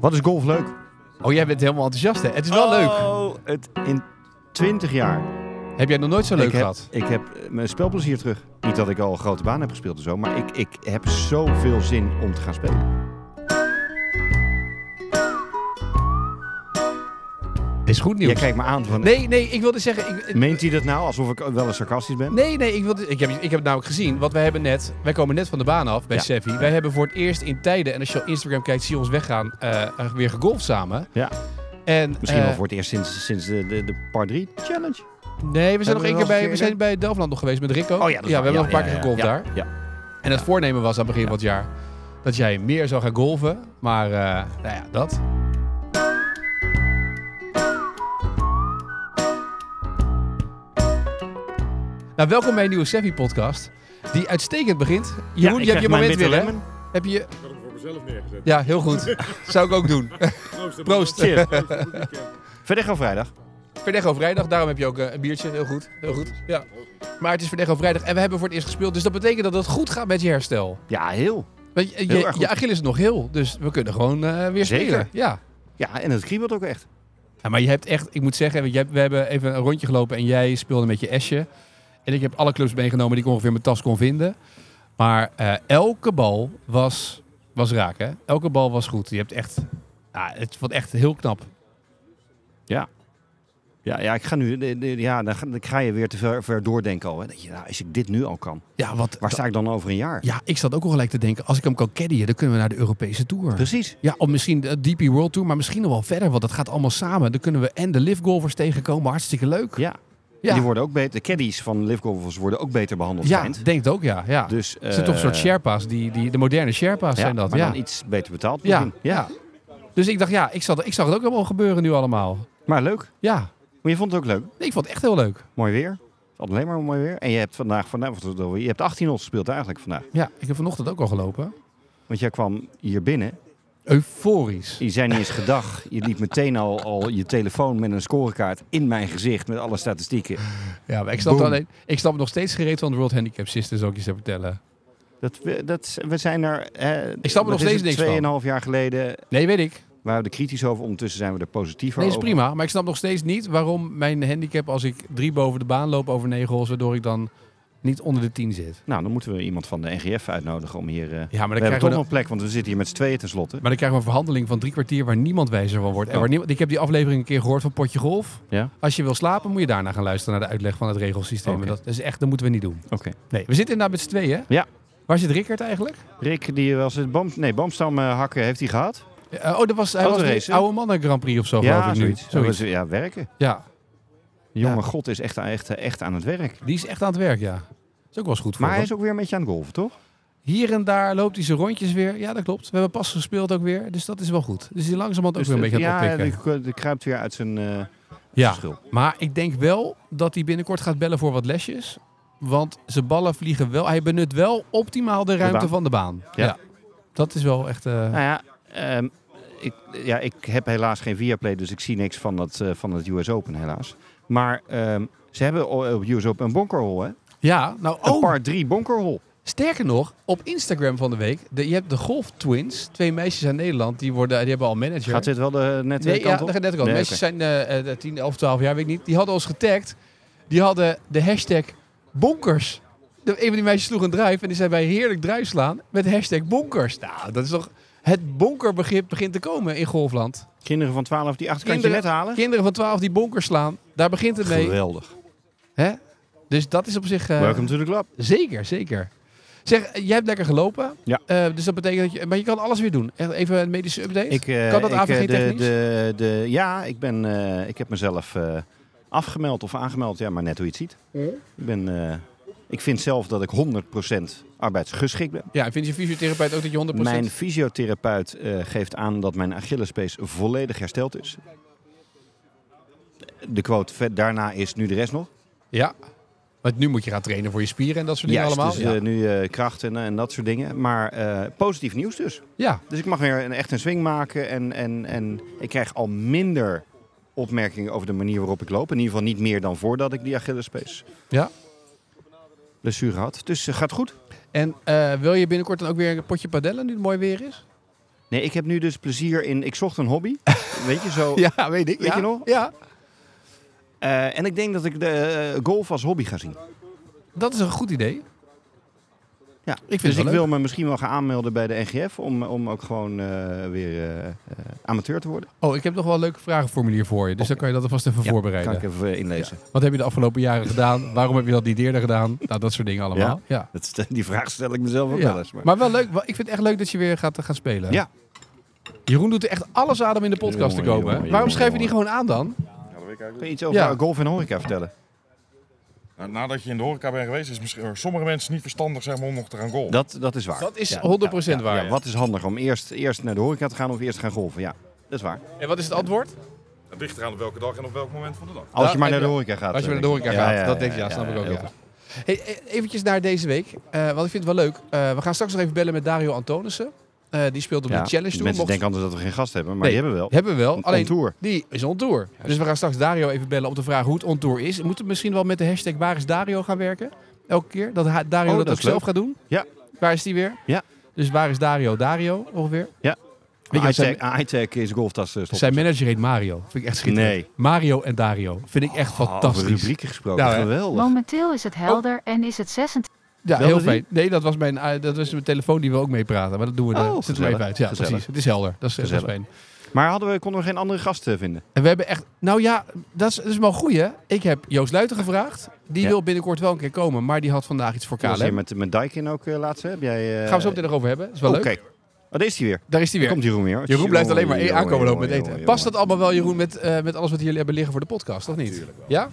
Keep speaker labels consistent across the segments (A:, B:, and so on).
A: Wat is golf leuk?
B: Oh, jij bent helemaal enthousiast, hè? Het is wel leuk.
A: Oh, het in 20 jaar.
B: Heb jij nog nooit zo leuk
A: ik heb,
B: gehad?
A: Ik heb eh, mijn spelplezier terug. Niet dat ik al een grote baan heb gespeeld en zo, maar ik, ik heb zoveel zin om te gaan spelen.
B: Dit is goed nieuws.
A: Jij kijkt me aan van.
B: Nee, nee, ik wilde zeggen... Ik,
A: Meent hij dat nou alsof ik wel eens sarcastisch ben?
B: nee, nee, ik, wilde, ik, heb, ik heb het namelijk gezien. Want wij hebben net... Wij komen net van de baan af bij
A: Ja.
B: Seffi. Wij hebben voor het eerst in tijden... En als je op Instagram kijkt, zie je ons weggaan. eh, weer gegolfd samen.
A: Ja,
B: En,
A: misschien
B: eh,
A: wel voor het eerst sinds, sinds de, de, de par 3 challenge.
B: Nee, we zijn
A: Hebben we nog
B: nog één keer
A: een
B: bij,
A: keer
B: we zijn bij Delftland nog geweest met Rico.
A: dat
B: we hebben nog een paar keer gegolfd daar.
A: Ja.
B: En het voornemen was aan het begin van het jaar dat jij meer zou gaan golven. Maar eh, nou ja, dat. Nou, welkom bij een nieuwe Sevi podcast die uitstekend begint. Jeroen, je hebt je moment weer, hè? Heb je...
C: Ik had hem voor mezelf neergezet.
B: Ja, heel goed. zou ik ook doen.
C: Proost.
B: Proost.
A: Cheers.
C: Proost.
A: Verder gaan vrijdag.
B: Verdecho vrijdag, daarom heb je ook eh, een biertje. Heel goed, heel goed. Ja. Maar het is Verdecho vrijdag en we hebben voor het eerst gespeeld. Dus dat betekent dat het goed gaat met je herstel.
A: Ja, heel.
B: Weet je,
A: Heel
B: je,
A: erg goed.
B: je Achilles is nog heel, dus we kunnen gewoon eh, weer
A: Zeker.
B: spelen. Ja.
A: Ja, en het kriebelt ook echt.
B: ja. Maar je hebt echt, ik moet zeggen, want jij- we hebben even een rondje gelopen en jij speelde met je esje. En ik heb alle clubs meegenomen die ik ongeveer in mijn tas kon vinden. Maar eh, elke bal was, was raak, hè? Elke bal was goed. Je hebt echt, ja, het was echt heel knap.
A: Ja. Ja, ja ik ga nu, de- de- ja, dan ga, dan ga je weer te ver, ver doordenken al. Hè. Dat je, nou, als ik dit nu al kan,
B: Ja, wat,
A: waar sta ik dan over een jaar?
B: ja, ik zat ook al gelijk te denken, als ik hem kan caddyen, dan kunnen we naar de Europese Tour.
A: Precies.
B: Ja, of misschien de DP World Tour, maar misschien nog wel verder, want dat gaat allemaal samen. Dan kunnen we en de live golfers tegenkomen, hartstikke leuk.
A: Ja. En Die worden ook beter, de caddies van Livgolfers worden ook beter behandeld.
B: ja
A: schijnt.
B: denk het ook, ja. ja.
A: Dus,
B: het zijn toch een soort
A: eh,
B: Sherpa's, die, die, de moderne Sherpa's
A: ja,
B: zijn dat.
A: maar
B: Ja.
A: dan iets beter betaald
B: Ja,
A: misschien.
B: ja. Dus ik dacht, ja, ik zag, ik zag het ook allemaal gebeuren nu allemaal.
A: Maar leuk.
B: Ja,
A: Maar je vond het ook leuk.
B: Nee, ik vond het echt heel leuk.
A: Mooi weer. Altijd alleen maar mooi weer. En je hebt vandaag, vandaag je hebt 18 holes gespeeld eigenlijk vandaag.
B: Ja, ik heb vanochtend ook al gelopen.
A: Want jij kwam hier binnen.
B: Euforisch.
A: Je zei niet eens gedag. Je liep meteen al, al je telefoon met een scorekaart in mijn gezicht met alle statistieken.
B: Ja, maar ik snap,
A: Boom.
B: alleen, ik snap nog steeds gereed van de World Handicap Sisters, ook je te vertellen.
A: Dat we, dat, we zijn er. eh,
B: Ik snap er
A: wat is
B: nog steeds
A: het,
B: niks van.
A: Tweeënhalf jaar geleden
B: Nee, weet ik.
A: waren we er kritisch over. Ondertussen zijn we er positiever
B: Nee, is
A: over.
B: prima. Maar ik snap nog steeds niet waarom mijn handicap als ik drie boven de baan loop over negen holes, waardoor ik dan niet onder de tien zit.
A: Nou, dan moeten we iemand van de NGF uitnodigen om hier. eh,
B: Ja, maar
A: we
B: dan
A: hebben
B: krijgen we,
A: toch
B: dan-
A: nog een plek, want we zitten hier met z'n tweeën tenslotte.
B: maar dan krijgen we een verhandeling van drie kwartier waar niemand wijzer van wordt. En
A: Oh.
B: waar niemand, ik heb die aflevering een keer gehoord van Potje Golf.
A: Ja.
B: Als je wil slapen, moet je daarna gaan luisteren naar de uitleg van het regelsysteem.
A: Oké.
B: En Dat is echt, dat moeten we niet doen.
A: Oké.
B: Nee, we zitten inderdaad met z'n tweeën.
A: Ja.
B: Waar zit Rickert eigenlijk?
A: Rick, die was het Bam, nee, Bamstam eh, hakken, heeft hij gehad?
B: Eh, oh, dat was, hij was
A: Autorace,
B: de
A: hè?
B: oude mannen Grand Prix of zo, geloof
A: ja,
B: ik nu.
A: zoiets. Dat was- Ja, werken.
B: Ja,
A: De jonge god is echt, echt, echt aan het werk.
B: die is echt aan het werk, ja. Is ook wel eens goed voor
A: Maar hij
B: hem.
A: is ook weer een beetje aan het golven, toch?
B: Hier en daar loopt hij zijn rondjes weer. Ja, dat klopt. We hebben pas gespeeld ook weer. Dus dat is wel goed. Dus hij is langzamerhand ook weer een
A: het-
B: beetje aan het
A: eh, ja,
B: oppikken.
A: die, die kruipt weer uit zijn eh,
B: Ja,
A: schil.
B: maar ik denk wel dat hij binnenkort gaat bellen voor wat lesjes. Want zijn ballen vliegen wel. Hij benut wel optimaal de ruimte
A: baan.
B: van de baan.
A: Ja.
B: Ja. Dat is wel echt... eh,
A: Nou ja, ehm, ik, ja, ik heb helaas geen Viaplay, dus ik zie niks van, dat, eh, van het US Open helaas. Maar ehm, ze hebben o- op US Open een bonkerhol, hè?
B: Ja, nou...
A: Een
B: Oh,
A: par 3 bonkerhol.
B: sterker nog, op Instagram van de week... De, je hebt de Golf Twins. Twee meisjes uit Nederland. Die, worden, die hebben al manager.
A: Gaat dit wel de net de
B: Nee, ja,
A: kant
B: dat
A: op?
B: gaat net ook al.
A: Nee,
B: Meisjes zijn eh, eh, 10, 11, 12 jaar, weet ik niet. Die hadden ons getagd. Die hadden de hashtag bonkers. De, een van die meisjes sloeg een druif en die zei wij heerlijk druif slaan met hashtag bonkers. Nou, dat is toch... Het bonkerbegrip begint te komen in golfland.
A: Kinderen van 12 die achterkantje net
B: Kinderen-
A: halen?
B: Kinderen van 12 die bonkers slaan, daar begint het mee.
A: Geweldig.
B: Hè? Dus dat is op zich... eh,
A: Welcome to the club.
B: Zeker, zeker. Zeg, eh, jij hebt lekker gelopen.
A: Ja.
B: Eh, dus dat betekent dat je... Maar je kan alles weer doen. Echt Even een medische update.
A: Ik, eh,
B: kan dat
A: ik, eh, de-
B: AVG-technisch?
A: de, de, Ja, ik, ben, eh, ik heb mezelf eh, afgemeld of aangemeld. Ja, maar net hoe je het ziet.
B: Hm?
A: Ik, ben, eh, ik vind zelf dat ik 100% arbeidsgeschikt ben.
B: Ja, en vind je fysiotherapeut ook dat je 100%...
A: Mijn fysiotherapeut eh, geeft aan dat mijn Achillespees volledig hersteld is. De quote ver- daarna is nu de rest nog.
B: Ja. Want nu moet je gaan trainen voor je spieren en dat soort dingen
A: Juist,
B: allemaal.
A: dus
B: ja.
A: eh, nu eh, kracht en, en dat soort dingen. Maar eh, positief nieuws dus.
B: ja.
A: Dus ik mag weer een, echt een swing maken. En, en, en ik krijg al minder opmerkingen over de manier waarop ik loop. In ieder geval niet meer dan voordat ik die Achillespees
B: Ja.
A: blessure had. Dus eh, gaat goed.
B: En eh, wil je binnenkort dan ook weer een potje padellen nu het mooi weer is?
A: Nee, ik heb nu dus plezier in... Ik zocht een hobby. weet je, zo...
B: Ja, weet ik.
A: Weet
B: ja.
A: je nog?
B: Ja.
A: Eh, en ik denk dat ik de eh, golf als hobby ga zien.
B: Dat is een goed idee.
A: Ja,
B: vind het
A: dus
B: wel
A: ik
B: leuk.
A: wil me misschien wel gaan aanmelden bij de NGF om, om ook gewoon eh, weer eh, eh, amateur te worden.
B: Oh, ik heb nog wel een leuke vragenformulier voor je. Dus dan kan je dat alvast even
A: Ja,
B: voorbereiden.
A: Kan ik even eh, inlezen.
B: Wat heb je de afgelopen jaren gedaan? Waarom heb je dat niet eerder gedaan? Nou, dat soort dingen allemaal. Ja.
A: Dat stel- die vraag stel ik mezelf
B: Ja.
A: ook wel eens. Maar,
B: Maar wel leuk. Wel- Ik vind het echt leuk dat je weer gaat, gaat spelen.
A: Ja.
B: Jeroen doet er echt alles aan om in de podcast te
A: Jongen,
B: komen.
A: jongen,
B: Waarom
A: jongen,
B: schrijf je die
A: jongen.
B: gewoon aan dan?
C: dat weet ik eigenlijk
A: Kun je iets over
B: Ja.
A: golf en horeca vertellen?
C: Nou, nadat je in de horeca bent geweest, is misschien voor sommige mensen niet verstandig zeg maar, om nog te gaan golven.
A: Dat, dat is waar.
B: Dat is
A: Ja,
B: 100%
A: ja,
B: waar.
A: ja, wat is handig om eerst, eerst naar de horeca te gaan of eerst te gaan golven? Ja, dat is waar.
B: En wat is het antwoord?
C: Het ligt eraan op welke dag en op welk moment van de dag.
A: Als
B: Ja,
A: je maar
B: en
A: naar de
B: ja,
A: horeca gaat.
B: Als je
A: eh,
B: naar de horeca
A: denk ik.
B: gaat, dat denk je. Ja, snap ik ook.
A: heel
B: heel
A: goed.
B: goed. Hey, eh, eventjes naar deze week. Eh, want ik vind het wel leuk. Eh, we gaan straks nog even bellen met Dario Antonissen. Eh, die speelt op
A: Ja,
B: de Challenge
A: Mensen
B: Tour. Mocht-
A: denken anders dat we geen gast hebben, maar
B: Nee.
A: die hebben we wel.
B: Hebben we wel.
A: On- on
B: Alleen
A: tour.
B: die is on tour. Dus we gaan straks Dario even bellen om te vragen hoe het on tour is. Moeten we misschien wel met de hashtag waar is Dario gaan werken? Elke keer. Dat ha- Dario
A: Oh,
B: dat,
A: dat
B: ook
A: is leuk.
B: zelf gaat doen.
A: Ja.
B: Waar is die weer?
A: Ja.
B: Dus waar is Dario? Dario ongeveer.
A: Ja.
B: Weet je, zijn,
A: Hightech- Hightech is golftas eh, stoppen.
B: zijn manager heet Mario. Vind ik echt schitterend.
A: Nee.
B: Mario en Dario. Vind ik echt
A: Oh, over
B: fantastisch.
A: rubrieken gesproken,
B: Ja, hè?
A: geweldig.
D: Momenteel is het helder en is het 26.
B: Ja,
A: Belde
B: heel
A: die?
B: fijn. Nee, dat was, mijn, eh, dat was mijn telefoon die wil ook meepraten. Maar dat doen we
A: Oh,
B: er zitten we
A: gezellig.
B: even uit. Ja,
A: Gezellig.
B: precies. Het is helder. Dat is, dat is
A: Gezellig.
B: fijn.
A: Maar hadden we, konden we geen andere gasten vinden?
B: En we hebben echt... Nou ja, dat is, dat is wel een goeie. Ik heb Joost Luiten gevraagd. Die
A: Ja.
B: wil binnenkort wel een keer komen. Maar die had vandaag iets voor
A: Was je
B: KLM.
A: met, met Dijkin ook eh, laatst? hè? Heb jij, eh,
B: Gaan we zo meteen nog over hebben. Dat is wel
A: oh,
B: leuk.
A: kijk. Oh, daar is hij weer.
B: Daar is hij weer.
A: Komt Jeroen weer. hoor.
B: Jeroen blijft alleen maar
A: Jongen,
B: aankomen
A: jongen,
B: lopen met eten.
A: jongen,
B: Past dat
A: jongen.
B: allemaal wel, Jeroen, met, eh, met alles wat jullie hebben liggen voor de podcast, of niet? ja?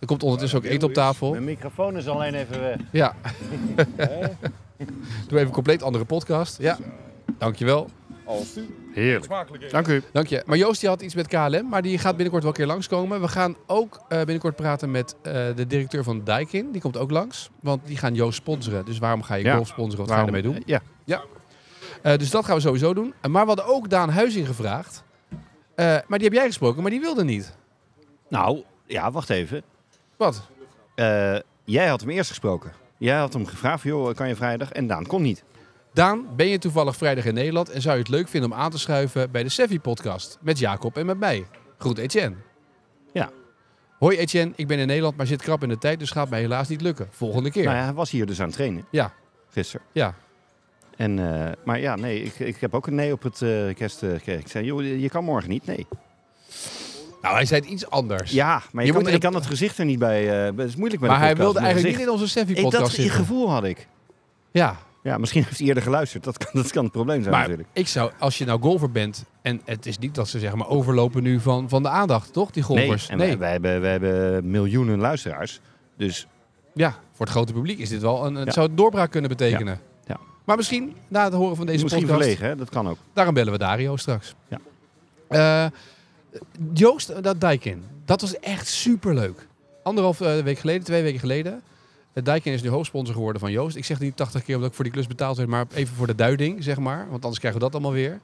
B: Er komt ondertussen ook eten op tafel.
A: Mijn microfoon is alleen even weg.
B: Ja. Doe even een compleet andere podcast. Ja. Dankjewel.
C: Als u
A: Heerlijk.
C: smakelijk eet.
A: Dank u.
B: Dank je. Maar Joost die had iets met KLM, maar die gaat binnenkort wel een keer langskomen. We gaan ook eh, binnenkort praten met eh, de directeur van Dijkin. Die komt ook langs, want die gaan Joost sponsoren. Dus waarom ga je
A: Ja.
B: golf sponsoren? Wat
A: Waarom-
B: ga je ermee doen?
A: Ja.
B: Eh, dus dat gaan we sowieso doen. Eh, maar we hadden ook Daan Huizing gevraagd. Eh, maar die heb jij gesproken, maar die wilde niet.
A: Nou, ja, wacht even.
B: Wat?
A: Eh, jij had hem eerst gesproken. Jij had hem gevraagd, joh, kan je vrijdag? En Daan kon niet.
B: Daan, ben je toevallig vrijdag in Nederland en zou je het leuk vinden om aan te schuiven bij de Sevi podcast met Jacob en met mij? Groet Etienne.
A: Ja.
B: Hoi Etienne, ik ben in Nederland, maar zit krap in de tijd, dus gaat mij helaas niet lukken. Volgende keer.
A: Nou ja, hij was hier dus aan het trainen.
B: Ja.
A: Gisteren.
B: Ja.
A: En, eh, maar ja, nee, ik, ik heb ook een nee op het eh kerst eh, gekregen. Ik zei, joh, je kan morgen niet. Nee.
B: Nou, hij zei het iets anders.
A: Ja, maar je,
B: Je
A: kan,
B: moet-
A: je kan het gezicht er niet bij. eh, het is moeilijk met
B: maar
A: een
B: hij
A: podcast
B: wilde
A: met een
B: eigenlijk
A: gezicht.
B: niet in onze Sevi
A: Ik, dat
B: podcast
A: ge-
B: zitten.
A: gevoel had ik.
B: Ja,
A: Ja, misschien heeft hij eerder geluisterd. Dat kan, dat kan het probleem zijn
B: maar
A: natuurlijk.
B: ik zou, als je nou golfer bent, en het is niet dat ze zeg maar overlopen nu van, van de aandacht, toch? Die golfers.
A: en Wij, wij hebben, wij hebben miljoenen luisteraars. Dus
B: Ja, voor het grote publiek is dit wel een, het
A: Ja.
B: zou het doorbraak kunnen betekenen.
A: Ja. Ja.
B: Maar misschien na het horen van deze
A: misschien
B: podcast,
A: verlegen, hè? dat kan ook.
B: daarom bellen we Dario straks.
A: Ja.
B: Eh, Joost, eh, dat Dijkin, dat was echt superleuk. Anderhalf eh, week geleden, twee weken geleden. Eh, Dijkin is nu hoofdsponsor geworden van Joost. Ik zeg niet 80 keer omdat ik voor die klus betaald werd, maar even voor de duiding, zeg maar. Want anders krijgen we dat allemaal weer.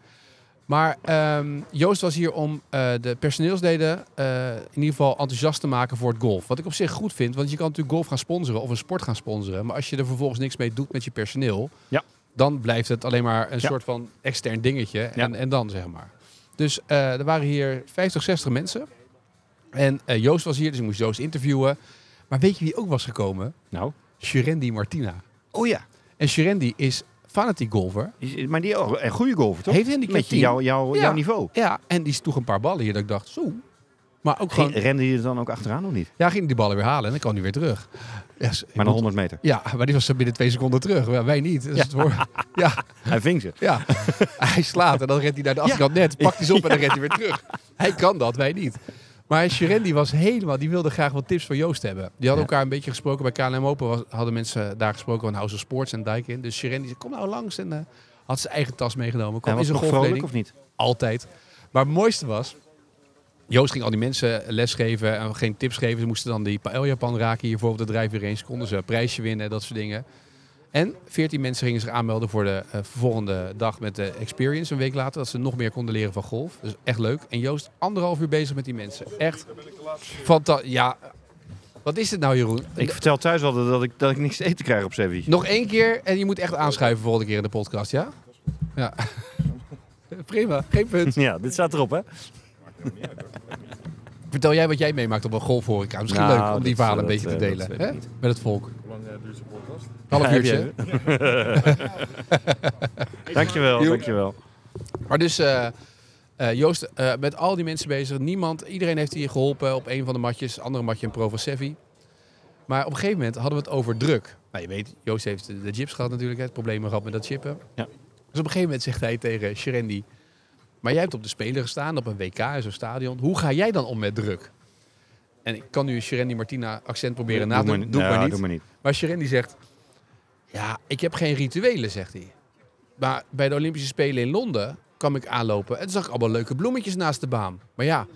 B: Maar ehm, Joost was hier om eh, de personeelsleden eh, in ieder geval enthousiast te maken voor het golf. Wat ik op zich goed vind, want je kan natuurlijk golf gaan sponsoren of een sport gaan sponsoren. Maar als je er vervolgens niks mee doet met je personeel,
A: Ja.
B: dan blijft het alleen maar een
A: Ja.
B: soort van extern dingetje. En,
A: Ja.
B: en dan zeg maar. Dus eh, er waren hier 50, 60 mensen. En eh, Joost was hier, dus ik moest Joost interviewen. Maar weet je wie ook was gekomen?
A: Nou.
B: Shirendi Martina.
A: Oh ja.
B: En Shirendi is fanatiek golfer.
A: Is- Maar die oh, een goede golfer, toch?
B: Heeft handicap
A: Met
B: 10.
A: jou, jou,
B: Ja.
A: jouw niveau.
B: Ja, en die sloeg een paar ballen hier dat ik dacht, zo. Maar ook
A: Ging,
B: gewoon,
A: rende je er dan ook achteraan of niet?
B: ja, ging die ballen weer halen en dan kwam hij weer terug. Ja, s- ik
A: Maar dan
B: moet-
A: 100 meter.
B: Ja, maar die was er binnen twee seconden terug. Wij- Wij niet. Dat is het voor- ja,
A: Hij ving ze.
B: ja. Hij slaat en dan rent hij naar de achterkant net, pakt hij ze op en dan rent hij weer terug. Hij kan dat, wij niet. Maar Shirendi was helemaal, die wilde graag wat tips van Joost hebben. Die hadden
A: Ja.
B: elkaar een beetje gesproken bij KLM Open. was- hadden mensen daar gesproken van House of Sports en Dijkin. Dus Shirendi zei, kom nou langs. En eh, had zijn eigen tas meegenomen. Kwam
A: Hij
B: in
A: was
B: zijn
A: nog vrolijk
B: golfkleding.
A: of niet?
B: Altijd. Maar het mooiste was... Joost ging al die mensen lesgeven en geen tips geven. Ze moesten dan die paeljapan raken hiervoor op de drijf weer eens. Konden ze een prijsje winnen, dat soort dingen. En 14 mensen gingen zich aanmelden voor de eh, volgende dag met de Experience een week later. Dat ze nog meer konden leren van golf. Dus echt leuk. En Joost anderhalf uur bezig met die mensen. Echt fantastisch. Ja, wat is dit nou Jeroen?
A: Ik vertel thuis altijd dat ik, dat ik niks te eten krijg op Sevi.
B: Nog één keer en je moet echt aanschuiven volgende keer in de podcast, ja? Ja. prima. Geen punt.
A: Ja, dit staat erop, hè?
B: Vertel jij wat jij meemaakt op een golfhoreca. Misschien
A: Nou,
B: leuk om
A: dat,
B: die verhalen
A: eh,
B: een beetje te
A: dat, eh,
B: delen.
A: dat weet
B: hè?
A: ik niet.
B: Met het volk.
C: Hoe lang eh, duurt zo'n podcast?
B: Half
A: Ja, heb
B: uurtje.
A: je- dankjewel,
B: Joep.
A: dankjewel.
B: Maar dus, eh, eh, Joost, eh, met al die mensen bezig. Niemand, iedereen heeft hier geholpen op een van de matjes. Andere matje in Provo Sevi. Maar op een gegeven moment hadden we het over druk. Nou, je weet, Joost heeft de, de chips gehad natuurlijk. hè, Het probleem gehad met dat chippen.
A: Ja.
B: Dus op een gegeven moment zegt hij tegen Sherendi... Maar jij hebt op de Spelen gestaan, op een WK in zo'n stadion. Hoe ga jij dan om met druk? En ik kan nu Sherendi Martina accent proberen na te doen. Doe ik
A: Ja,
B: maar
A: Doe
B: niet.
A: maar niet.
B: Maar Shirin die zegt... Ja, ik heb geen rituelen, zegt hij. Maar bij de Olympische Spelen in Londen kwam ik aanlopen... en toen zag ik allemaal leuke bloemetjes naast de baan. Maar ja,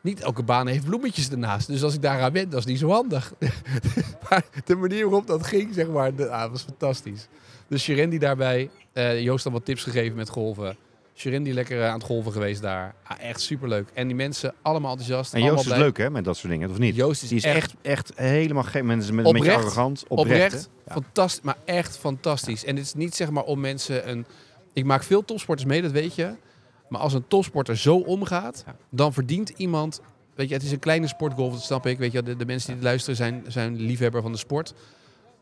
B: niet elke baan heeft bloemetjes ernaast. Dus als ik daaraan wend, dat is niet zo handig. maar de manier waarop dat ging, zeg maar, de, ah, was fantastisch. Dus Shirin die daarbij... eh, Joost had wat tips gegeven met golven. Shirin die lekker eh, aan het golven geweest daar. Ah, echt superleuk. En die mensen allemaal enthousiast.
A: En
B: allemaal
A: Joost is
B: blij.
A: leuk, hè, met dat soort dingen, of niet?
B: Joost is
A: Die is
B: echt-
A: echt, echt helemaal geen mensen met een beetje
B: Oprecht.
A: arrogant. Oprecht.
B: Oprecht,
A: hè?
B: fantastisch, maar echt fantastisch. En dit is niet zeg maar om mensen een... Ik maak veel topsporters mee, dat weet je. Maar als een topsporter zo omgaat,
A: Ja.
B: dan verdient iemand... Weet je, het is een kleine sportgolf, dat snap ik. Weet je, de, de mensen die het luisteren zijn, zijn liefhebber van de sport.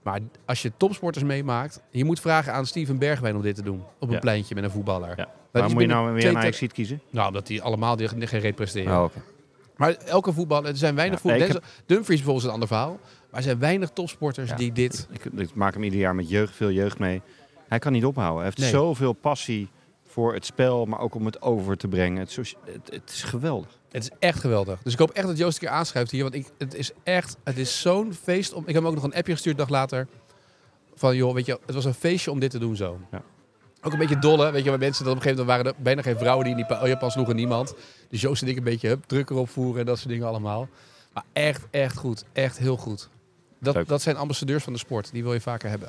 B: Maar als je topsporters meemaakt... Je moet vragen aan Steven Bergwijn om dit te doen. Op een
A: Ja.
B: pleintje met een voetballer.
A: Ja.
B: Dat
A: Waar moet
B: is
A: je
B: binnen
A: nou weer
B: twee
A: een
B: tec-
A: ajax kiezen?
B: Nou, omdat die allemaal die- geen reet presteren.
A: Oh, oké.
B: Maar elke voetballer... Er zijn weinig
A: Ja, nee, ik
B: voetballers... Dumfries bijvoorbeeld is een ander verhaal. Maar er zijn weinig topsporters
A: Ja.
B: die dit...
A: Ik, ik maak hem ieder jaar met jeugd, veel jeugd mee. Hij kan niet ophouden. Hij heeft
B: Nee.
A: zoveel passie voor het spel, maar ook om het over te brengen. Het, socia- het, het is geweldig.
B: Het is echt geweldig. Dus ik hoop echt dat Joost een keer aanschrijft hier. Want ik, het is echt, het is zo'n feest. Om, ik heb hem ook nog een appje gestuurd dag later. Van joh, weet je, het was een feestje om dit te doen zo.
A: Ja.
B: Ook een beetje dolle, weet je, maar mensen dat op een gegeven moment waren er bijna geen vrouwen die in die pa- oh, Japan sloegen, niemand. Dus Joost en ik een beetje hup, drukker opvoeren en dat soort dingen allemaal. Maar echt, echt goed. Echt heel goed. Dat,
A: Leuk.
B: dat zijn ambassadeurs van de sport. Die wil je vaker hebben.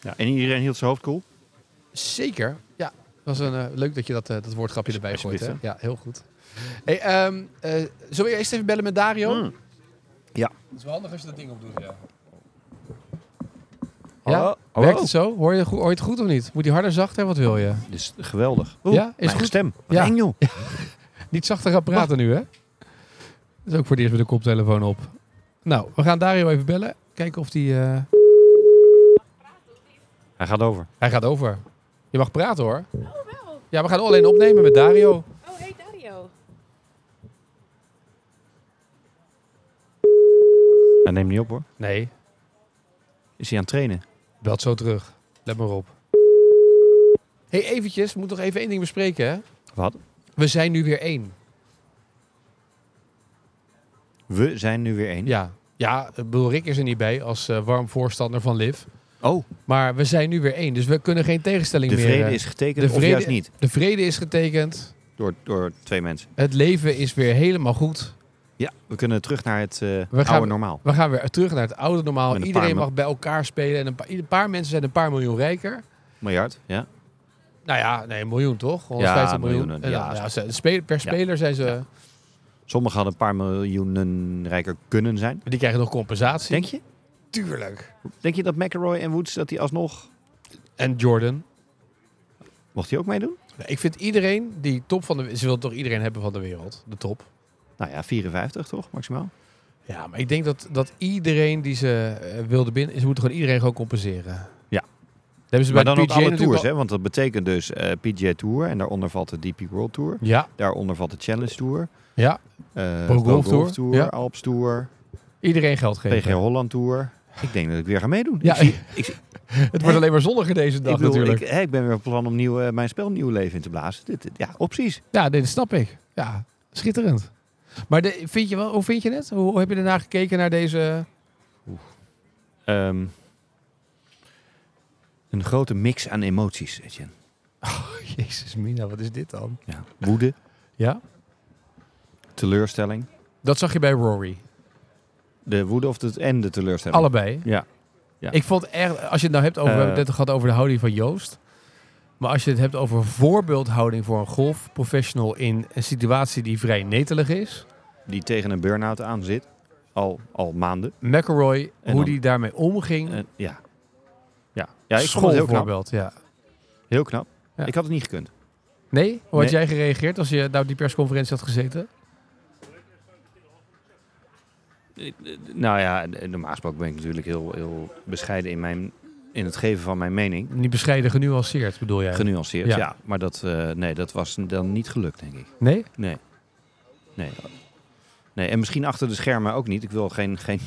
A: Ja. En iedereen hield zijn hoofd koel.
B: Zeker. Ja, was een, eh, leuk dat je dat, eh, dat woordgrapje erbij gooit. Hè?
A: Alsjeblieft,
B: Ja, heel goed. Hey, ehm, eh, zullen we eerst even bellen met Dario?
A: Mm. Ja.
B: Het is wel handig als je dat ding opdoet, ja.
A: Hallo?
B: Ja, werkt
A: Hallo?
B: het zo? Hoor je, goed- hoor je het goed of niet? Moet die harder, zachter? Wat wil je?
A: Dit is geweldig.
B: Ja, is
A: mijn
B: goed.
A: stem. Wat
B: Ja.
A: eng, joh.
B: Niet zachter gaan praten nu, hè? Dat is ook voor het eerst met de koptelefoon op. Nou, we gaan Dario even bellen. Kijken of die... eh,
A: Hij gaat over.
B: Hij gaat over. Je mag praten, hoor. Ja, we gaan alleen opnemen met Dario.
E: Oh, hey Dario.
A: Hij neemt niet op, hoor.
B: Nee,
A: Is hij aan het trainen?
B: belt zo terug. Let maar op. hey, eventjes. We moeten nog even één ding bespreken, hè?
A: Wat?
B: We zijn nu weer één.
A: We zijn nu weer één.
B: Ja. Ja, ik bedoel, Rick is er niet bij als eh, warm voorstander van Liv.
A: Oh,
B: Maar we zijn nu weer één, dus we kunnen geen tegenstelling
A: de
B: meer.
A: vrede
B: eh,
A: is getekend
B: de vrede-
A: of juist niet.
B: De vrede is getekend.
A: Door, door twee mensen.
B: Het leven is weer helemaal goed.
A: Ja, we kunnen terug naar het eh,
B: gaan-
A: oude normaal.
B: We gaan weer terug naar het oude normaal.
A: Met een
B: Iedereen
A: paar-
B: mag bij elkaar spelen. En een paar, een paar mensen zijn een paar miljoen rijker.
A: Miljard, ja.
B: Nou ja, nee, een miljoen toch? 150 miljoen.
A: miljoenen,
B: Eh,
A: ja,
B: nou,
A: zo.
B: ja, ze- spe- per speler zijn ze...
A: Sommigen hadden een paar miljoenen rijker kunnen zijn.
B: Die krijgen nog compensatie.
A: Denk je?
B: Tuurlijk.
A: Denk je dat McElroy en Woods, dat die alsnog...
B: En Jordan.
A: Mocht hij ook meedoen?
B: Nou, Ik vind iedereen die top van de... Ze wil toch iedereen hebben van de wereld? De top.
A: Nou ja, 54 toch, maximaal?
B: Ja, maar ik denk dat, dat iedereen die ze eh, wilde binnen... Ze moeten gewoon iedereen gewoon compenseren.
A: Ja.
B: Dat hebben ze
A: maar
B: Dus bij
A: dan
B: de
A: ook
B: PGA
A: alle
B: natuurlijk
A: tours,
B: al-
A: hè? Want dat betekent dus eh PGA Tour en daaronder valt de DP World Tour.
B: Ja,
A: Daaronder valt de Challenge Tour.
B: ja.
A: eh,
B: Pro Golf Tour,
A: Tour,
B: ja.
A: Alps Tour,
B: Iedereen geld geven.
A: PG Holland Tour. Ik denk dat ik weer ga meedoen.
B: Ja,
A: Ik, zie, ik, zie-
B: het wordt alleen maar zonniger deze dag
A: ik, bedoel,
B: natuurlijk.
A: ik, hè, ik ben weer op plan om nieuw, eh, mijn spel nieuw leven in te blazen. Dit, dit- ja, opties.
B: Ja, dit snap ik. Ja, schitterend. Maar de, vind je wel, hoe vind je het? Hoe heb je daarna gekeken naar deze...
A: Ehm, een grote mix aan emoties, Etienne.
B: Jezus mina, wat is dit dan?
A: Ja. Woede,
B: Ja?
A: teleurstelling.
B: Dat zag je bij Rory.
A: De woede of de, en de teleurstelling.
B: Allebei.
A: Ja. Ja.
B: Ik vond echt, als je het nou hebt over, we
A: Eh.
B: hebben het net gehad over de houding van Joost. Maar als je het hebt over voorbeeldhouding voor een golfprofessional in een situatie die vrij netelig is.
A: Die tegen een burn-out aan zit. Al, al maanden.
B: McElroy,
A: En
B: hoe
A: dan-
B: die daarmee omging.
A: Eh, ja. Ja. ja, ik vond het heel knap.
B: Schoolvoorbeeld, ja.
A: Heel knap.
B: Ja.
A: Ik had het niet gekund.
B: Nee? Hoe
A: Nee.
B: had jij gereageerd als je nou op die persconferentie had gezeten?
A: Nou ja, normaal gesproken ben ik natuurlijk heel, heel bescheiden in, mijn, in het geven van mijn mening.
B: Niet bescheiden genuanceerd bedoel jij?
A: Genuanceerd,
B: Ja.
A: ja. Maar dat, eh, nee, dat was dan niet gelukt, denk ik.
B: nee?
A: Nee. Nee. nee. En misschien achter de schermen ook niet. Ik wil geen, geen,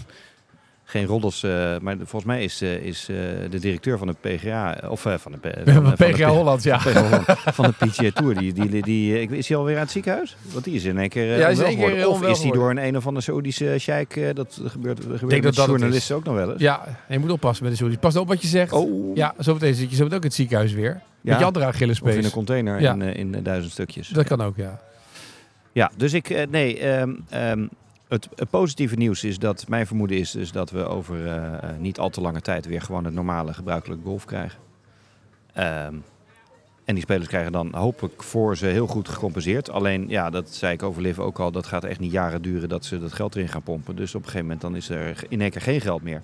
A: geen roddels. eh, maar volgens mij is, eh, is eh, de directeur van de PGA. eh, Of eh, van de P- van, eh, van de
B: PGA Holland, ja.
A: Van de- van de PGA Tour. Die, die, die, die- ik- is hij alweer uit het ziekenhuis? Want die is in één keer. eh,
B: Ja, hij is in
A: onwel
B: één keer
A: geworden. Of
B: onwel
A: is hij door
B: geworden.
A: een een of andere Saoedische sheik? eh, dat gebeurt, gebeurt
B: dat
A: met
B: dat het
A: journalisten ook nog wel eens.
B: Ja, en je moet oppassen met de Saoedi's. Pas op wat je zegt.
A: Oh,
B: Ja, zo meteen zit je zo meteen ook in het ziekenhuis weer. Met
A: Ja.
B: je andere
A: Of in een
B: Achillespees.
A: container
B: Ja.
A: in, eh, in eh, duizend stukjes.
B: Dat kan ook, ja.
A: Ja, dus ik, eh, nee, ehm, ehm, het eh, positieve nieuws is dat, mijn vermoeden is dus dat we over eh, eh, niet al te lange tijd weer gewoon het normale gebruikelijke golf krijgen. Ehm, en die spelers krijgen dan hopelijk voor ze heel goed gecompenseerd. Alleen, ja, dat zei ik over Liv ook al, dat gaat echt niet jaren duren dat ze dat geld erin gaan pompen. Dus op een gegeven moment dan is er in één keer geen geld meer.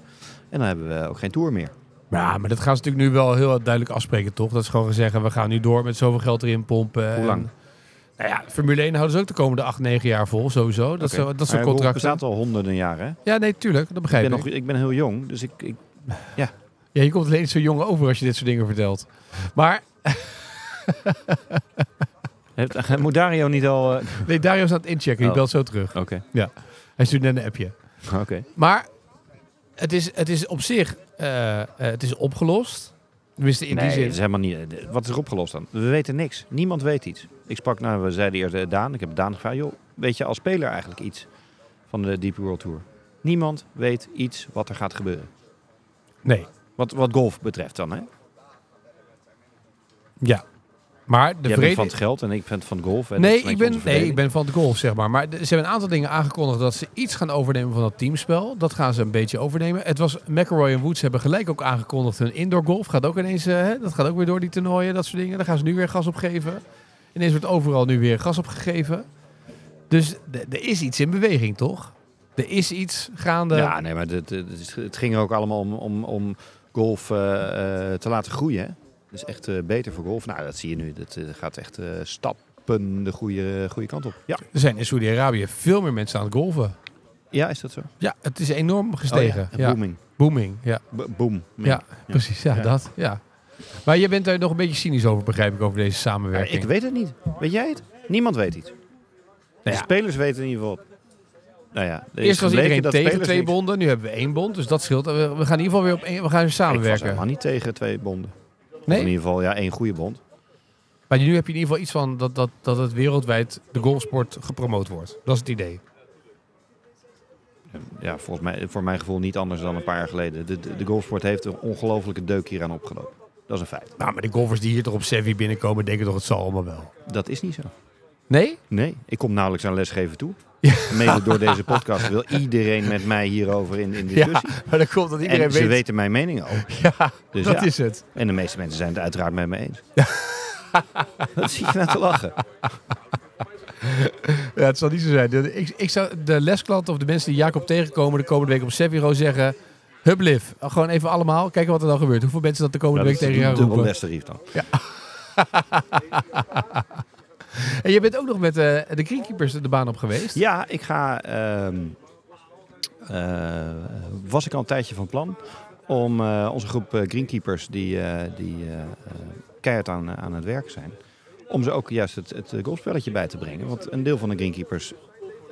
A: En dan hebben we ook geen tour meer.
B: Ja, maar dat gaan ze natuurlijk nu wel heel duidelijk afspreken, toch? Dat ze gewoon gaan zeggen, we gaan nu door met zoveel geld erin pompen.
A: Hoe lang?
B: En- nou ja, Formule 1 houden ze ook de komende 8, 9 jaar vol, sowieso. Dat,
A: Oké.
B: zo, dat
A: Maar golf
B: soort contracten.
A: bestaat al honderden jaren. hè?
B: Ja, nee, tuurlijk. Dat
A: Ik
B: begrijp
A: ben,
B: ik.
A: nog, ik ben heel jong, dus ik, ik
B: Ja, je komt alleen niet zo jong over als je dit soort dingen vertelt. Maar,
A: Heeft- moet Dario niet al... eh,
B: nee, Dario staat inchecken. Die
A: Oh.
B: belt zo terug.
A: Oké,
B: Hij stuurt net een appje.
A: oké.
B: Maar het is, het is op zich, eh, eh, het is opgelost. Tenminste, in
A: nee,
B: die
A: het is
B: zin.
A: helemaal niet. Wat is er opgelost dan? We weten niks. Niemand weet iets. Ik sprak, nou, we zeiden eerst eh, Daan. Ik heb Daan gevraagd, joh, weet je als speler eigenlijk iets van de Deep World Tour? Niemand weet iets wat er gaat gebeuren.
B: Nee,
A: Wat, wat golf betreft dan, hè?
B: ja. Maar de
A: Jij
B: vrede...
A: bent van het geld en ik ben van golf. En dat
B: Nee
A: is een
B: ik,
A: beetje
B: ben,
A: onze
B: nee, ik
A: verdeling.
B: ben van het golf, zeg maar. Maar de- ze hebben een aantal dingen aangekondigd dat ze iets gaan overnemen van dat teamspel. Dat gaan ze een beetje overnemen. Het was McElroy en Woods hebben gelijk ook aangekondigd hun indoor golf. Gaat ook ineens, eh, hè, dat gaat ook weer door die toernooien, dat soort dingen. Daar gaan ze nu weer gas op geven. Ineens wordt overal nu weer gas op gegeven. Dus d- er is iets in beweging, toch? Er is iets gaande.
A: Ja, nee, maar dit- dit is- het ging er ook allemaal om, om, om golf eh, eh, te laten groeien. Hè? Dus echt eh, beter voor golf. Nou, dat zie je nu. Dat eh, gaat echt eh, stappen de goede, goede kant op. Ja.
B: Er zijn in Saudi-Arabië veel meer mensen aan het golven.
A: ja, is dat zo?
B: Ja, het is enorm gestegen.
A: Oh, ja.
B: ja.
A: Booming.
B: Booming, ja.
A: B- boom.
B: Ja,
A: Ja.
B: precies. Ja,
A: Ja.
B: dat. Ja. Maar je bent daar nog een beetje cynisch over, begrijp ik, over deze
A: Ja,
B: samenwerking.
A: ik weet het niet. Weet jij het? Niemand weet iets. De
B: Nou ja.
A: spelers weten in ieder geval. Nou ja, er is
B: Eerst was
A: gebleken
B: iedereen
A: dat
B: tegen
A: spelers
B: twee
A: niks-
B: bonden, nu hebben we één bond, dus dat scheelt. We, we gaan in ieder geval weer op één, we gaan weer
A: Ik was helemaal
B: samenwerken.
A: niet tegen twee bonden. Of in
B: Nee?
A: ieder geval, ja, één goede bond.
B: Maar nu heb je in ieder geval iets van dat, dat, dat het wereldwijd de golfsport gepromoot wordt. Dat is het idee.
A: Ja, volgens mij, voor mijn gevoel niet anders dan een paar jaar geleden. De, de, de golfsport heeft een ongelofelijke deuk hieraan opgelopen. Dat is een feit.
B: Nou, maar de golfers die hier toch op Sevi binnenkomen, denken toch het zal allemaal wel.
A: Dat is niet zo.
B: Nee?
A: Nee, ik kom nauwelijks aan lesgeven toe. Mede door deze podcast wil iedereen met mij hierover in, in
B: Ja,
A: discussie.
B: maar dat komt dat iedereen
A: en ze
B: weet.
A: weten mijn mening ook.
B: Ja,
A: Dus
B: dat
A: ja.
B: is het.
A: En de meeste mensen zijn het uiteraard met me eens. Wat zie je nou te lachen?
B: Ja, het zal niet zo zijn. De- Ik, ik zou de lesklanten of de mensen die Jacob tegenkomen de komende week op Seviro zeggen... Hup, liv. Gewoon even allemaal. Kijken wat er dan gebeurt. Hoeveel mensen dat de komende
A: Nou,
B: week
A: dat is
B: tegen
A: een
B: jou
A: dubbel
B: roepen.
A: lestarief dan.
B: En je bent ook nog met eh, de Greenkeepers de baan op geweest.
A: Ja, ik ga. ehm, eh, was ik al een tijdje van plan om eh, onze groep eh, greenkeepers die, eh, die eh, eh, keihard aan, aan het werk zijn, om ze ook juist het, het eh, golfspelletje bij te brengen. Want een deel van de greenkeepers,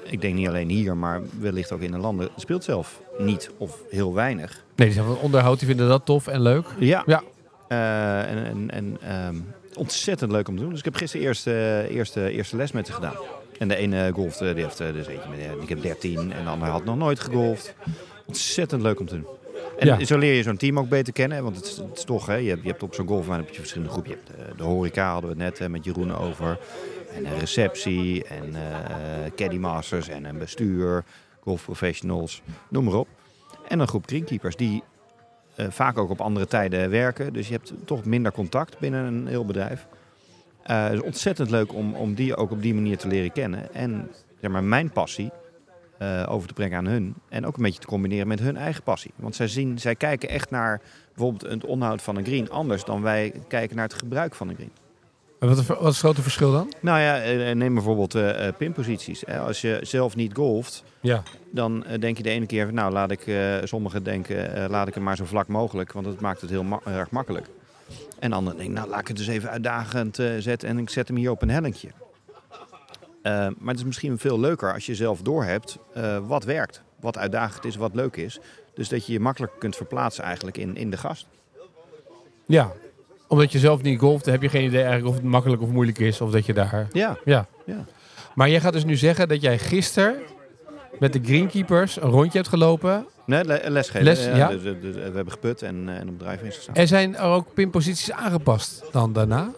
A: ik denk niet alleen hier, maar wellicht ook in de landen, speelt zelf niet of heel weinig.
B: Nee, die zijn van onderhoud. Die vinden dat tof en leuk.
A: Ja.
B: Ja.
A: Eh, en en, en ehm, ontzettend leuk om te doen. Dus ik heb gisteren eerst, eh, eerste, eerste les met ze gedaan. En de ene golft, eh, die heeft eh, dus eentje met, eh, ik heb 13 en de andere had nog nooit gegolfd. Ontzettend leuk om te doen. En
B: Ja.
A: zo leer je zo'n team ook beter kennen. hè, Want het is, het is toch, hè, je, hebt, je hebt op zo'n golfbaan heb je verschillende groepen. Je hebt eh, de horeca, hadden we het net hè, met Jeroen over. En een receptie en eh caddymasters en een bestuur. Golfprofessionals, noem maar op. En een groep greenkeepers die eh, vaak ook op andere tijden werken. Dus je hebt toch minder contact binnen een heel bedrijf. Eh, het is ontzettend leuk om, om die ook op die manier te leren kennen. En zeg maar, mijn passie eh, over te brengen aan hun. En ook een beetje te combineren met hun eigen passie. Want zij, zien, zij kijken echt naar bijvoorbeeld het onderhoud van een green anders dan wij kijken naar het gebruik van een green.
B: Oké. En wat, wat is het grote verschil dan?
A: Nou ja, eh, neem bijvoorbeeld eh, eh, pinposities. Eh, Als je zelf niet golft,
B: Ja.
A: dan eh, denk je de ene keer, nou laat ik, eh, sommigen denken, eh, laat ik hem maar zo vlak mogelijk, want dat maakt het heel ma- erg makkelijk. En anderen denken, nou laat ik het dus even uitdagend eh, zetten en ik zet hem hier op een hellinkje. Eh, maar het is misschien veel leuker als je zelf doorhebt eh wat werkt, wat uitdagend is, wat leuk is. Dus dat je je makkelijk kunt verplaatsen eigenlijk in, in de gast.
B: Ja. Omdat je zelf niet golft, heb je geen idee eigenlijk of het makkelijk of moeilijk is. Of dat je daar...
A: Ja,
B: Ja.
A: Ja.
B: Maar jij gaat dus nu zeggen dat jij gisteren met de greenkeepers een rondje hebt gelopen.
A: nee, le- lesgeven.
B: Les, ja.
A: dus, eh, dus, eh, we hebben geput en, eh, en op drijven is gestaan.
B: Er zijn er ook pinposities aangepast dan daarna?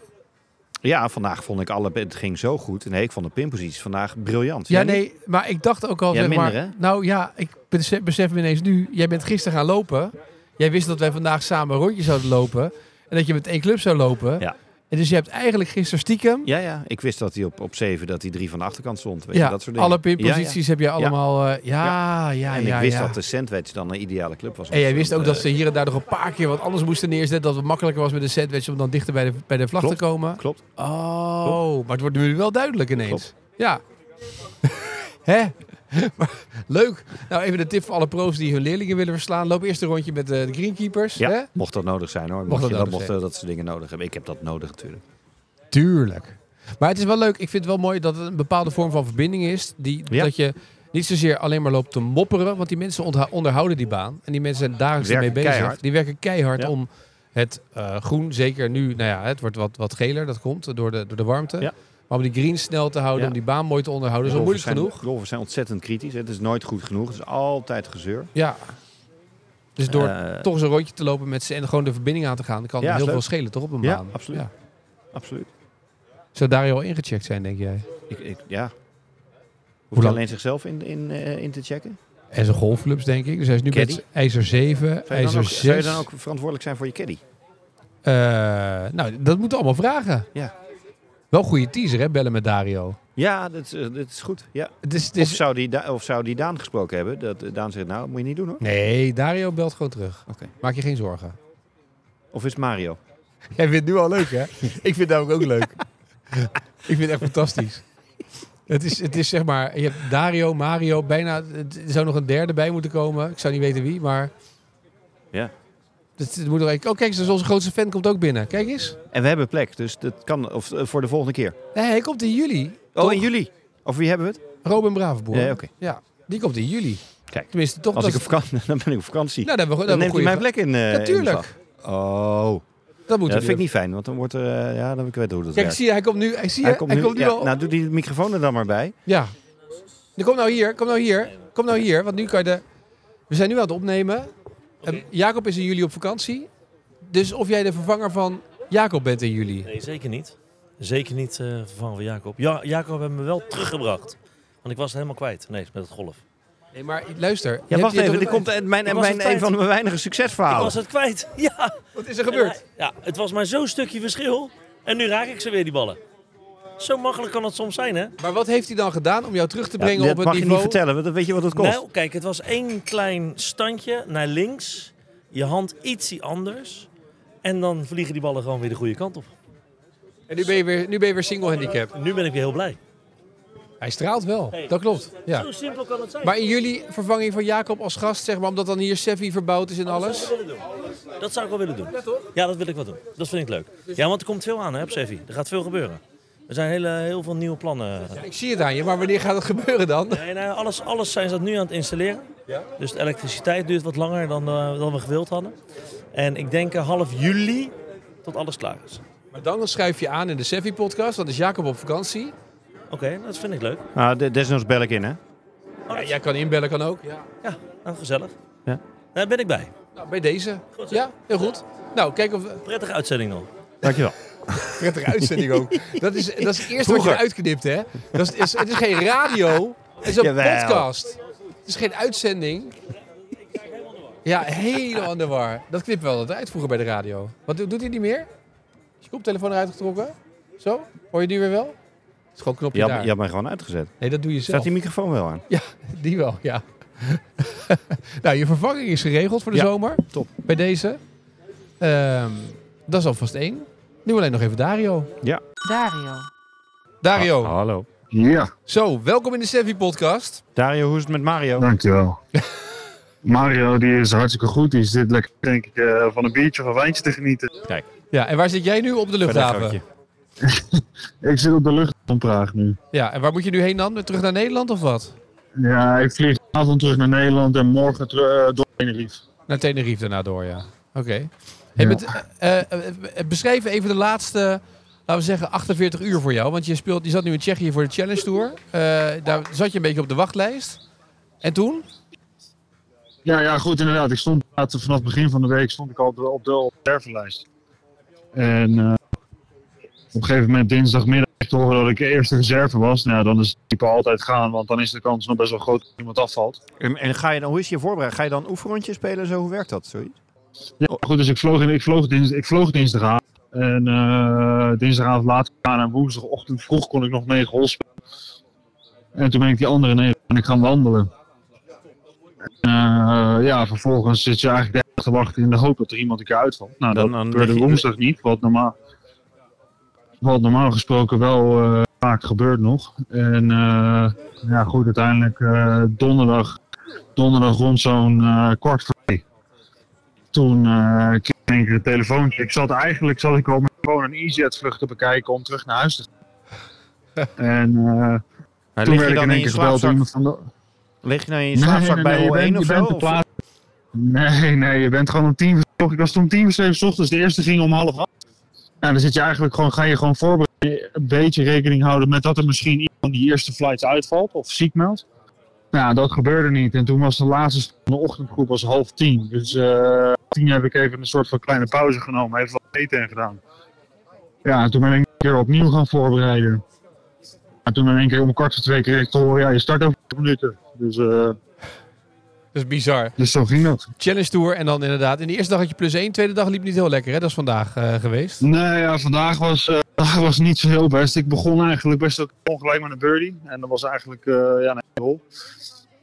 A: Ja, vandaag vond ik alle. Het ging zo goed. Nee, ik vond de pinposities vandaag briljant.
B: Ja,
A: Jij niet?
B: nee, maar ik dacht ook al...
A: Ja,
B: zeg maar,
A: minder, hè?
B: Nou ja, ik besef, besef me ineens nu. Jij bent gisteren gaan lopen. Jij wist dat wij vandaag samen een rondje zouden lopen. En dat je met één club zou lopen.
A: Ja.
B: En dus je hebt eigenlijk gisteren stiekem...
A: Ja, ja. Ik wist dat hij op, op 7 dat hij drie van de achterkant stond. Weet
B: ja,
A: je, dat soort dingen.
B: alle pinposities heb je allemaal... eh, Ja, ja, ja,
A: en ik wist
B: ja.
A: dat dus. eh, de sandwich dan een ideale club was.
B: En jij wist ook dat ze hier en daar nog een paar keer wat anders moesten neerzetten. Dat het makkelijker was met een sandwich om dan dichter bij de, bij de vlag
A: Klopt.
B: te komen.
A: eh, Klopt.
B: Oh, maar het wordt nu wel duidelijk ineens.
A: Klopt.
B: Ja. Hè? Maar Leuk. Nou, even de tip voor alle pro's die hun leerlingen willen verslaan. Loop eerst een rondje met eh, de greenkeepers.
A: Ja,
B: Hè?
A: mocht dat nodig zijn hoor. Mocht,
B: dat
A: je dat,
B: nodig
A: mocht
B: zijn.
A: eh, dat soort dingen nodig hebben. Ik heb dat nodig natuurlijk.
B: Tuurlijk. Maar het is wel leuk. Ik vind het wel mooi dat het een bepaalde vorm van verbinding is. Die,
A: Ja.
B: Dat je niet zozeer alleen maar loopt te mopperen. Want die mensen ontha- onderhouden die baan. En die mensen zijn dagelijks
A: Werken
B: ermee bezig.
A: keihard.
B: Die werken keihard
A: Ja.
B: om het eh, groen, zeker nu, nou ja, het wordt wat, wat geler. Dat komt door de, door de warmte.
A: Ja.
B: Maar om die green snel te houden,
A: Ja.
B: om die baan mooi te onderhouden. is al
A: Golfers
B: moeilijk
A: zijn,
B: genoeg.
A: Golfers zijn ontzettend kritisch. Het is nooit goed genoeg. Het is altijd gezeur.
B: Ja. Dus door
A: Eh,
B: toch eens een rondje te lopen met ze en gewoon de verbinding aan te gaan, kan
A: Ja, is
B: heel
A: leuk.
B: veel schelen toch op een
A: Ja,
B: baan.
A: absoluut. Absoluut.
B: Zou daar al ingecheckt zijn, denk jij?
A: Ik, ik, ja. Hoeft
B: lang-
A: hij alleen zichzelf in, in, eh, in te checken?
B: En zijn golfclubs, denk ik. Dus hij is nu
A: Caddy?
B: met ijzer 7,
A: Zou je, dan
B: ijzer
A: ook, zou je
B: 6.
A: dan ook verantwoordelijk zijn voor je caddy?
B: Eh, nou, dat moeten we allemaal vragen.
A: Ja.
B: Wel goede teaser, hè? Bellen met Dario.
A: Ja, dat, is- eh, dat is goed. Ja.
B: Het is, het
A: Of,
B: is...
A: zou die Da- of zou die Daan gesproken hebben? Dat eh, Daan zegt, nou, moet je niet doen hoor.
B: Nee, Dario belt gewoon terug.
A: Oké.
B: Maak je geen zorgen.
A: Of is het Mario?
B: Jij vindt het nu al leuk, hè? ik vind het ook leuk. ik vind het echt fantastisch. Het is, het is zeg maar, je hebt Dario, Mario, bijna, het- er zou nog een derde bij moeten komen. Ik zou niet weten wie, maar...
A: Ja.
B: Het, het moet er eigenlijk- oh, kijk eens, dus onze grootste fan komt ook binnen. Kijk eens.
A: En we hebben plek, dus dat kan of, eh, voor de volgende keer.
B: Nee, hij komt in juli.
A: Oh,
B: Toch?
A: in juli. Over wie hebben we het?
B: Robin Bravenboer.
A: Ja, oké.
B: Ja, die komt in juli.
A: Kijk.
B: Tenminste, toch.
A: Als
B: dat
A: ik op
B: is-
A: vakantie, dan ben ik op vakantie.
B: nou, dan, hebben we, dan
A: dan
B: hebben
A: neemt
B: we
A: hij mijn
B: goede-
A: plek in. eh, in de
B: Natuurlijk.
A: slag. Oh,
B: dat
A: Ja,
B: moet
A: dat vind ik niet fijn, want dan wordt er, eh, ja, dan ik weet hoe dat
B: Kijk,
A: werkt.
B: zie je, hij komt nu, hij, zie je, hij komt nu,
A: ja,
B: al.
A: Nou, doe die microfoon er dan maar bij.
B: Ja. Dan kom nou hier, kom nou hier, kom nou hier, want nu kan je de... We zijn nu aan het opnemen. En Jacob is in juli op vakantie. Dus of jij de vervanger van Jacob bent in juli.
F: Nee, zeker niet. Zeker niet eh, vervangen van Jacob. Ja, Jacob heeft me wel teruggebracht. Want ik was het helemaal kwijt. Nee, met het golf.
B: Nee, maar luister.
A: Ja, wacht even. Er komt
B: Wat
A: eh, mijn,
F: Ik was
A: mijn,
F: op tijd.
A: een van mijn weinige
F: Ik
A: succesverhalen.
F: was het kwijt. Ja.
B: is er gebeurd?
F: ja, het was maar zo'n stukje verschil. En nu raak ik ze weer, die ballen. Zo makkelijk kan het soms zijn, hè?
B: Maar wat heeft hij dan gedaan om jou terug te
A: Ja,
B: brengen
A: dat
B: op het
A: mag je
B: niveau?
A: niet vertellen, want dan weet je wat het kost.
F: Nou, kijk, het was één klein standje naar links. Je hand ietsie anders. En dan vliegen die ballen gewoon weer de goede kant op.
B: En nu ben je weer, nu ben je weer single handicap.
F: Nu ben ik weer heel blij.
B: Hij straalt wel, dat klopt. Ja.
F: Zo simpel kan het zijn.
B: Maar in juli vervanging van Jacob als gast, zeg maar, omdat dan hier Seffi verbouwd is en
F: Dat
B: alles.
F: zou ik wel willen doen. Dat zou ik wel willen doen. Ja, dat wil ik wel doen. Dat vind ik leuk. Ja, want er komt veel aan, hè, op Sevi. Er gaat veel gebeuren. Er zijn hele, heel veel nieuwe plannen.
B: Ik zie het aan je, maar wanneer gaat het gebeuren dan?
F: Nee, nou, alles, alles zijn ze dat nu aan het installeren. Dus de elektriciteit duurt wat langer dan, eh, dan we gewild hadden. En ik denk eh, half juli tot alles klaar is.
B: Maar dan schrijf je aan in de Seffi-podcast, dan is Jacob op vakantie.
F: Oké, dat vind ik leuk.
A: Nou, de- desnoods bel ik in, hè.
F: Oh, dat-
B: jij kan inbellen, kan ook.
F: Ja, nou, gezellig.
A: Ja.
F: Daar ben ik bij.
B: Nou, bij deze. Ja, heel goed. Nou, kijk of...
F: Prettige uitzending nog.
A: Dankjewel.
B: Prettige uitzending ook. Dat is, dat is het eerste wat je
A: Vroeger.
B: uitknipt, hè? Dat is, is- het is geen radio, het is een
A: Jawel.
B: podcast. Het is geen uitzending. Ja, helemaal aan de war. Dat knipt wel altijd uit vroeger bij de radio. Wat doet doet hij niet meer? Is je koptelefoon eruit getrokken? Zo? Hoor je die weer wel? Het is gewoon een knopje
A: Je had,
B: daar.
A: je had mij gewoon uitgezet.
B: Nee, dat doe je zelf.
A: Staat die microfoon wel aan?
B: Ja, die wel, ja. nou, je vervanging is geregeld voor de
A: Ja,
B: zomer.
A: top.
B: Bij deze. Ehm, dat is alvast één. Nu alleen nog even Dario.
D: Dario.
B: Dario,
A: Ha- hallo.
G: Ja,
B: zo, welkom in de Sevi podcast.
A: Dario, hoe is het met Mario?
G: dankjewel. Mario die is hartstikke goed. Die zit lekker denk ik, eh, van een biertje of een wijntje te genieten.
B: Ja, en waar zit jij nu op de luchthaven?
A: Verdachtje.
G: Ik zit op de lucht van Praag nu.
B: Ja, en waar moet je nu heen dan? Terug naar Nederland of wat?
G: Ja, ik vlieg vanavond terug naar Nederland en morgen teru- eh, door Tenerife.
B: Naar Tenerife daarna door, ja. Oké. Hey,
G: Ja.
B: met- eh, eh, eh, beschrijf even de laatste, laten we zeggen, 48 uur voor jou. Want je, speelt, je zat nu in Tsjechië voor de Challenge Tour. Eh, daar zat je een beetje op de wachtlijst. En toen?
G: Ja, ja, goed, inderdaad. Ik stond inderdaad vanaf het begin van de week stond ik al op de, op de reservelijst. En eh, op een gegeven moment dinsdagmiddag kreeg ik te horen dat ik de eerste reserve was. Nou, dan is het type altijd gaan, want dan is de kans nog best wel groot dat iemand afvalt.
A: En, Ehm, en ga je dan, hoe is je voorbereiding? Ga je dan oefenrondjes spelen? en Zo, hoe werkt dat? Zoiets?
G: Ja, goed, dus ik vloog, in- ik vloog, dins, ik vloog dinsdagavond. En eh, dinsdagavond laat gaan en woensdagochtend vroeg kon ik nog negen hols spelen. En toen ben ik die andere negen en ik gaan wandelen. En, eh, ja, vervolgens zit je eigenlijk de hele dag te wachten in de hoop dat er iemand een keer uitvalt. Nou,
A: Dan-
G: dat
A: dan lig
G: gebeurde
A: je-
G: woensdag niet, wat normaal, wat normaal gesproken wel eh, vaak gebeurt nog. En eh, ja, goed, uiteindelijk eh, donderdag, donderdag rond zo'n eh, kwart voor twee. Toen eh, kreeg ik in één keer een telefoontje. Ik zat eigenlijk zat ik al met gewoon een EasyJet vlucht te bekijken om terug naar huis te gaan. En eh,
A: Maar
G: toen
A: lig je
G: werd ik in
A: dan in
G: één
A: je
G: keer gebeld door
A: slaapzak?
G: iemand van de...
A: Lig je nou in je slaapzak bij
G: je
A: hol 1
G: bent-
A: of zo?
G: je bent te
A: Of-
G: plaatsen. Nee, nee, je bent gewoon om tien uur. 's ochtends- Ik was toen om tien uur zeven 's ochtends. De eerste ging om half acht. Nou, dan zit je eigenlijk gewoon, ga je gewoon voorbereiden. Een beetje rekening houden met dat er misschien iemand van die eerste flights uitvalt of ziek meldt. Nou, dat gebeurde niet. En toen was de laatste st- van de ochtendgroep was half tien. Dus eh tien heb ik even een soort van kleine pauze genomen. Even wat eten en gedaan. Ja, en toen ben ik een keer opnieuw gaan voorbereiden. En toen in één keer om kwart voor twee kreeg ik te horen, ja, je start over tien minuten. Dus, eh,
B: Dat is bizar.
G: dus zo ging dat.
B: Challenge Tour en dan inderdaad. In de eerste dag had je plus één, tweede dag liep niet heel lekker. Hè? Dat is vandaag eh, geweest.
G: Nee, ja, vandaag was, eh, vandaag was niet zo heel best. Ik begon eigenlijk best ook ongelijk met een birdie. En dat was eigenlijk eh, ja, een hele hol.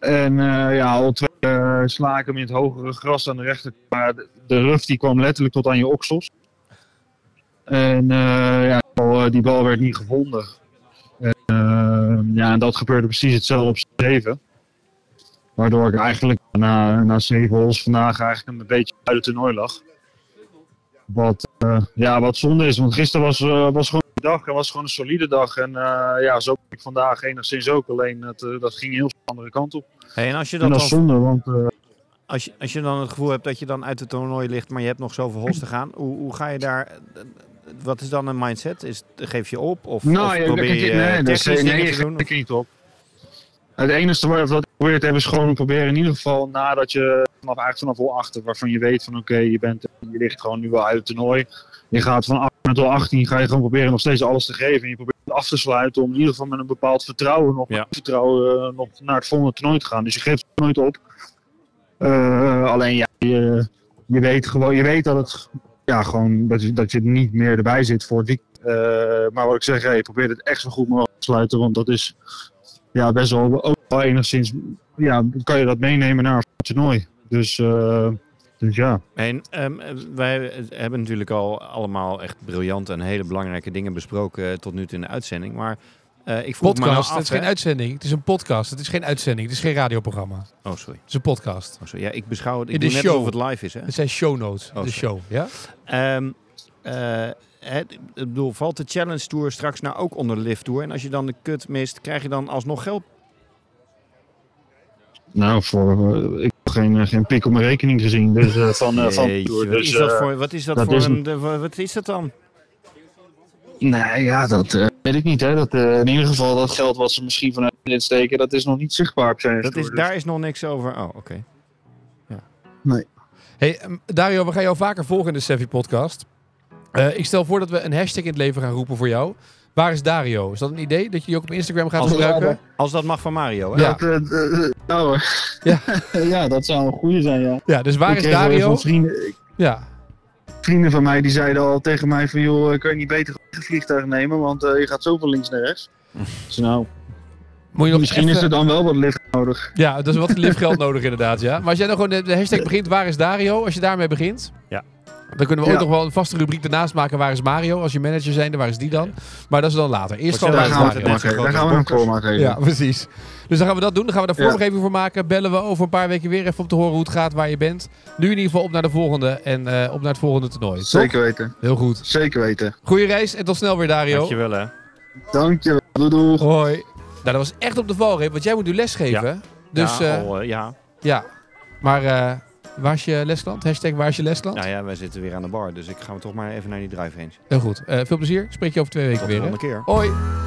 G: En eh, ja, al twee eh, sla ik hem in het hogere gras aan de rechter. Maar de, de ruf die kwam letterlijk tot aan je oksels. En eh, ja, die bal, eh, die bal werd niet gevonden. En, eh, ja, en dat gebeurde precies hetzelfde op zeven. Waardoor ik eigenlijk na, na zeven holes vandaag eigenlijk een beetje uit het toernooi lag. Wat eh, ja, wat zonde is, want gisteren was, eh, was gewoon een dag en was gewoon een solide dag. En eh, ja, zo ben ik vandaag enigszins ook, alleen dat, eh, dat ging heel snel de andere kant op.
A: Hey, en als je,
G: en
A: dat
G: dat is
A: dan,
G: zonde, want eh,
A: als, je, als je dan het gevoel hebt dat je dan uit het toernooi ligt, maar je hebt nog zoveel hols te gaan, hoe, hoe ga je daar... Wat is dan een mindset? Is, geef je op? Of, of
G: nou, ja,
A: probeer
G: kijk,
A: je
G: nee,
A: eh,
G: dat is-
A: technisch
G: nee,
A: dingen
G: je
A: te doen?
G: geeft er niet op. Het enige wat wat ik probeer te hebben is gewoon proberen in ieder geval nadat je vanaf eigenlijk vanaf hol 8, waarvan je weet van oké, je bent je ligt gewoon nu wel uit het toernooi. Je gaat van 8 tot 18 ga je gewoon proberen nog steeds alles te geven. En je probeert het af te sluiten om in ieder geval met een bepaald vertrouwen nog,
A: Ja.
G: vertrouwen, eh, nog naar het volgende toernooi te gaan. Dus je geeft het nooit op. Eh, alleen ja, je, je weet gewoon, je weet dat het ja, gewoon dat je, dat je niet meer erbij zit voor het weekend. Eh, maar wat ik zeg, hey, probeer het echt zo goed mogelijk af te sluiten. Want dat is ja, best wel ook wel enigszins. Ja, kan je dat meenemen naar een toernooi. Dus, eh, dus ja.
A: En ehm, wij hebben natuurlijk al allemaal echt briljante en hele belangrijke dingen besproken eh, tot nu toe in de uitzending. Maar eh, ik vroeg me nou
B: Podcast,
A: af...
B: het is
A: hè-
B: geen uitzending. Het is een podcast. Het is geen uitzending. Het is geen radioprogramma. Het
A: oh, sorry.
B: is een podcast.
A: oh, sorry. Ja, ik beschouw het... Ik
B: In
A: doe
B: de
A: net
B: show.
A: alsof het live is, hè?
B: Het zijn show notes.
A: sorry.
B: de show. Ja?
A: Ehm, eh, het, ik bedoel, valt de Challenge Tour straks nou ook onder de Lift Tour? En als je dan de kut mist, krijg je dan alsnog geld?
G: Nou, voor, eh, ik heb geen, eh, geen pik op mijn rekening gezien. Dus eh, van, eh, van
A: Jeetje, wat,
G: dus,
A: is dat
G: eh,
A: voor, wat is dat,
G: dat
A: voor
G: is
A: een... de- wa- wat is dat dan?
G: Nee, ja, dat eh, weet ik niet. Hè. Dat, eh, in ieder geval dat geld wat ze misschien vanuit dit steken, dat is nog niet zichtbaar op zijn.
A: Dat is,
G: stoer. Dus-
A: daar is nog niks over. Oh, oké.
B: Hey, ehm, Dario, we gaan jou vaker volgen in de Sevi podcast. Eh, ik stel voor dat we een hashtag in het leven gaan roepen voor jou. Waar is Dario? Is dat een idee dat je die ook op Instagram gaat
A: Als-
B: gebruiken?
A: Als dat mag van Mario, hè?
B: Ja.
G: Dat, eh, eh, eh, nou,
B: Ja.
G: ja. ja, dat zou een goede zijn, ja.
B: Ja, dus waar
G: Ik
B: is
G: kreeg wel eens
B: Dario?
G: Van vrienden,
B: Ja,
G: vrienden van mij die zeiden al tegen mij van joh, kun je niet beter een vliegtuig nemen, want eh, je gaat zoveel links naar rechts. Dus nou,
B: moet je nog
G: misschien
B: echt,
G: is er
B: eh,
G: dan wel wat lift nodig.
B: Ja, dat is wat liftgeld nodig inderdaad, ja. Maar als jij dan gewoon de, de hashtag begint, waar is Dario? Als je daarmee begint,
A: Ja.
B: Dan kunnen we ook
G: Ja.
B: nog wel een vaste rubriek ernaast maken. Waar is Mario? Als je manager zijn, waar is die dan? Maar dat is dan later. Eerst
A: Want
B: gewoon
G: daar
B: waar is
A: het
G: gaan we,
A: maken.
B: Mario.
A: Grote
G: het daar gaan we een
A: bokkers.
G: call maar geven.
B: Ja, precies. Dus dan gaan we dat doen. Dan gaan we daar
G: Ja.
B: vormgeving voor maken. Bellen we over een paar weken weer even om te horen hoe het gaat, waar je bent. Nu in ieder geval op naar de volgende en eh, op naar het volgende toernooi. toch?
G: Zeker weten.
B: Heel goed.
G: Zeker weten.
B: Goeie reis en tot snel weer, Dario.
A: Dankjewel hè.
G: Dankjewel. Doei doei.
B: Hoi. Nou, dat was echt op de valreep, want jij moet nu lesgeven. Dus
A: ja,
B: ja,
A: al, eh, ja.
B: ja. maar eh, waar is je lesland? Hashtag waar is je lesland?
A: Nou ja, wij zitten weer aan de bar, dus ik ga me toch maar even naar die drive heen.
B: Heel goed. Eh, veel plezier. Spreek je over twee weken
A: Tot de
B: weer. hè?
A: volgende keer.
B: Hoi.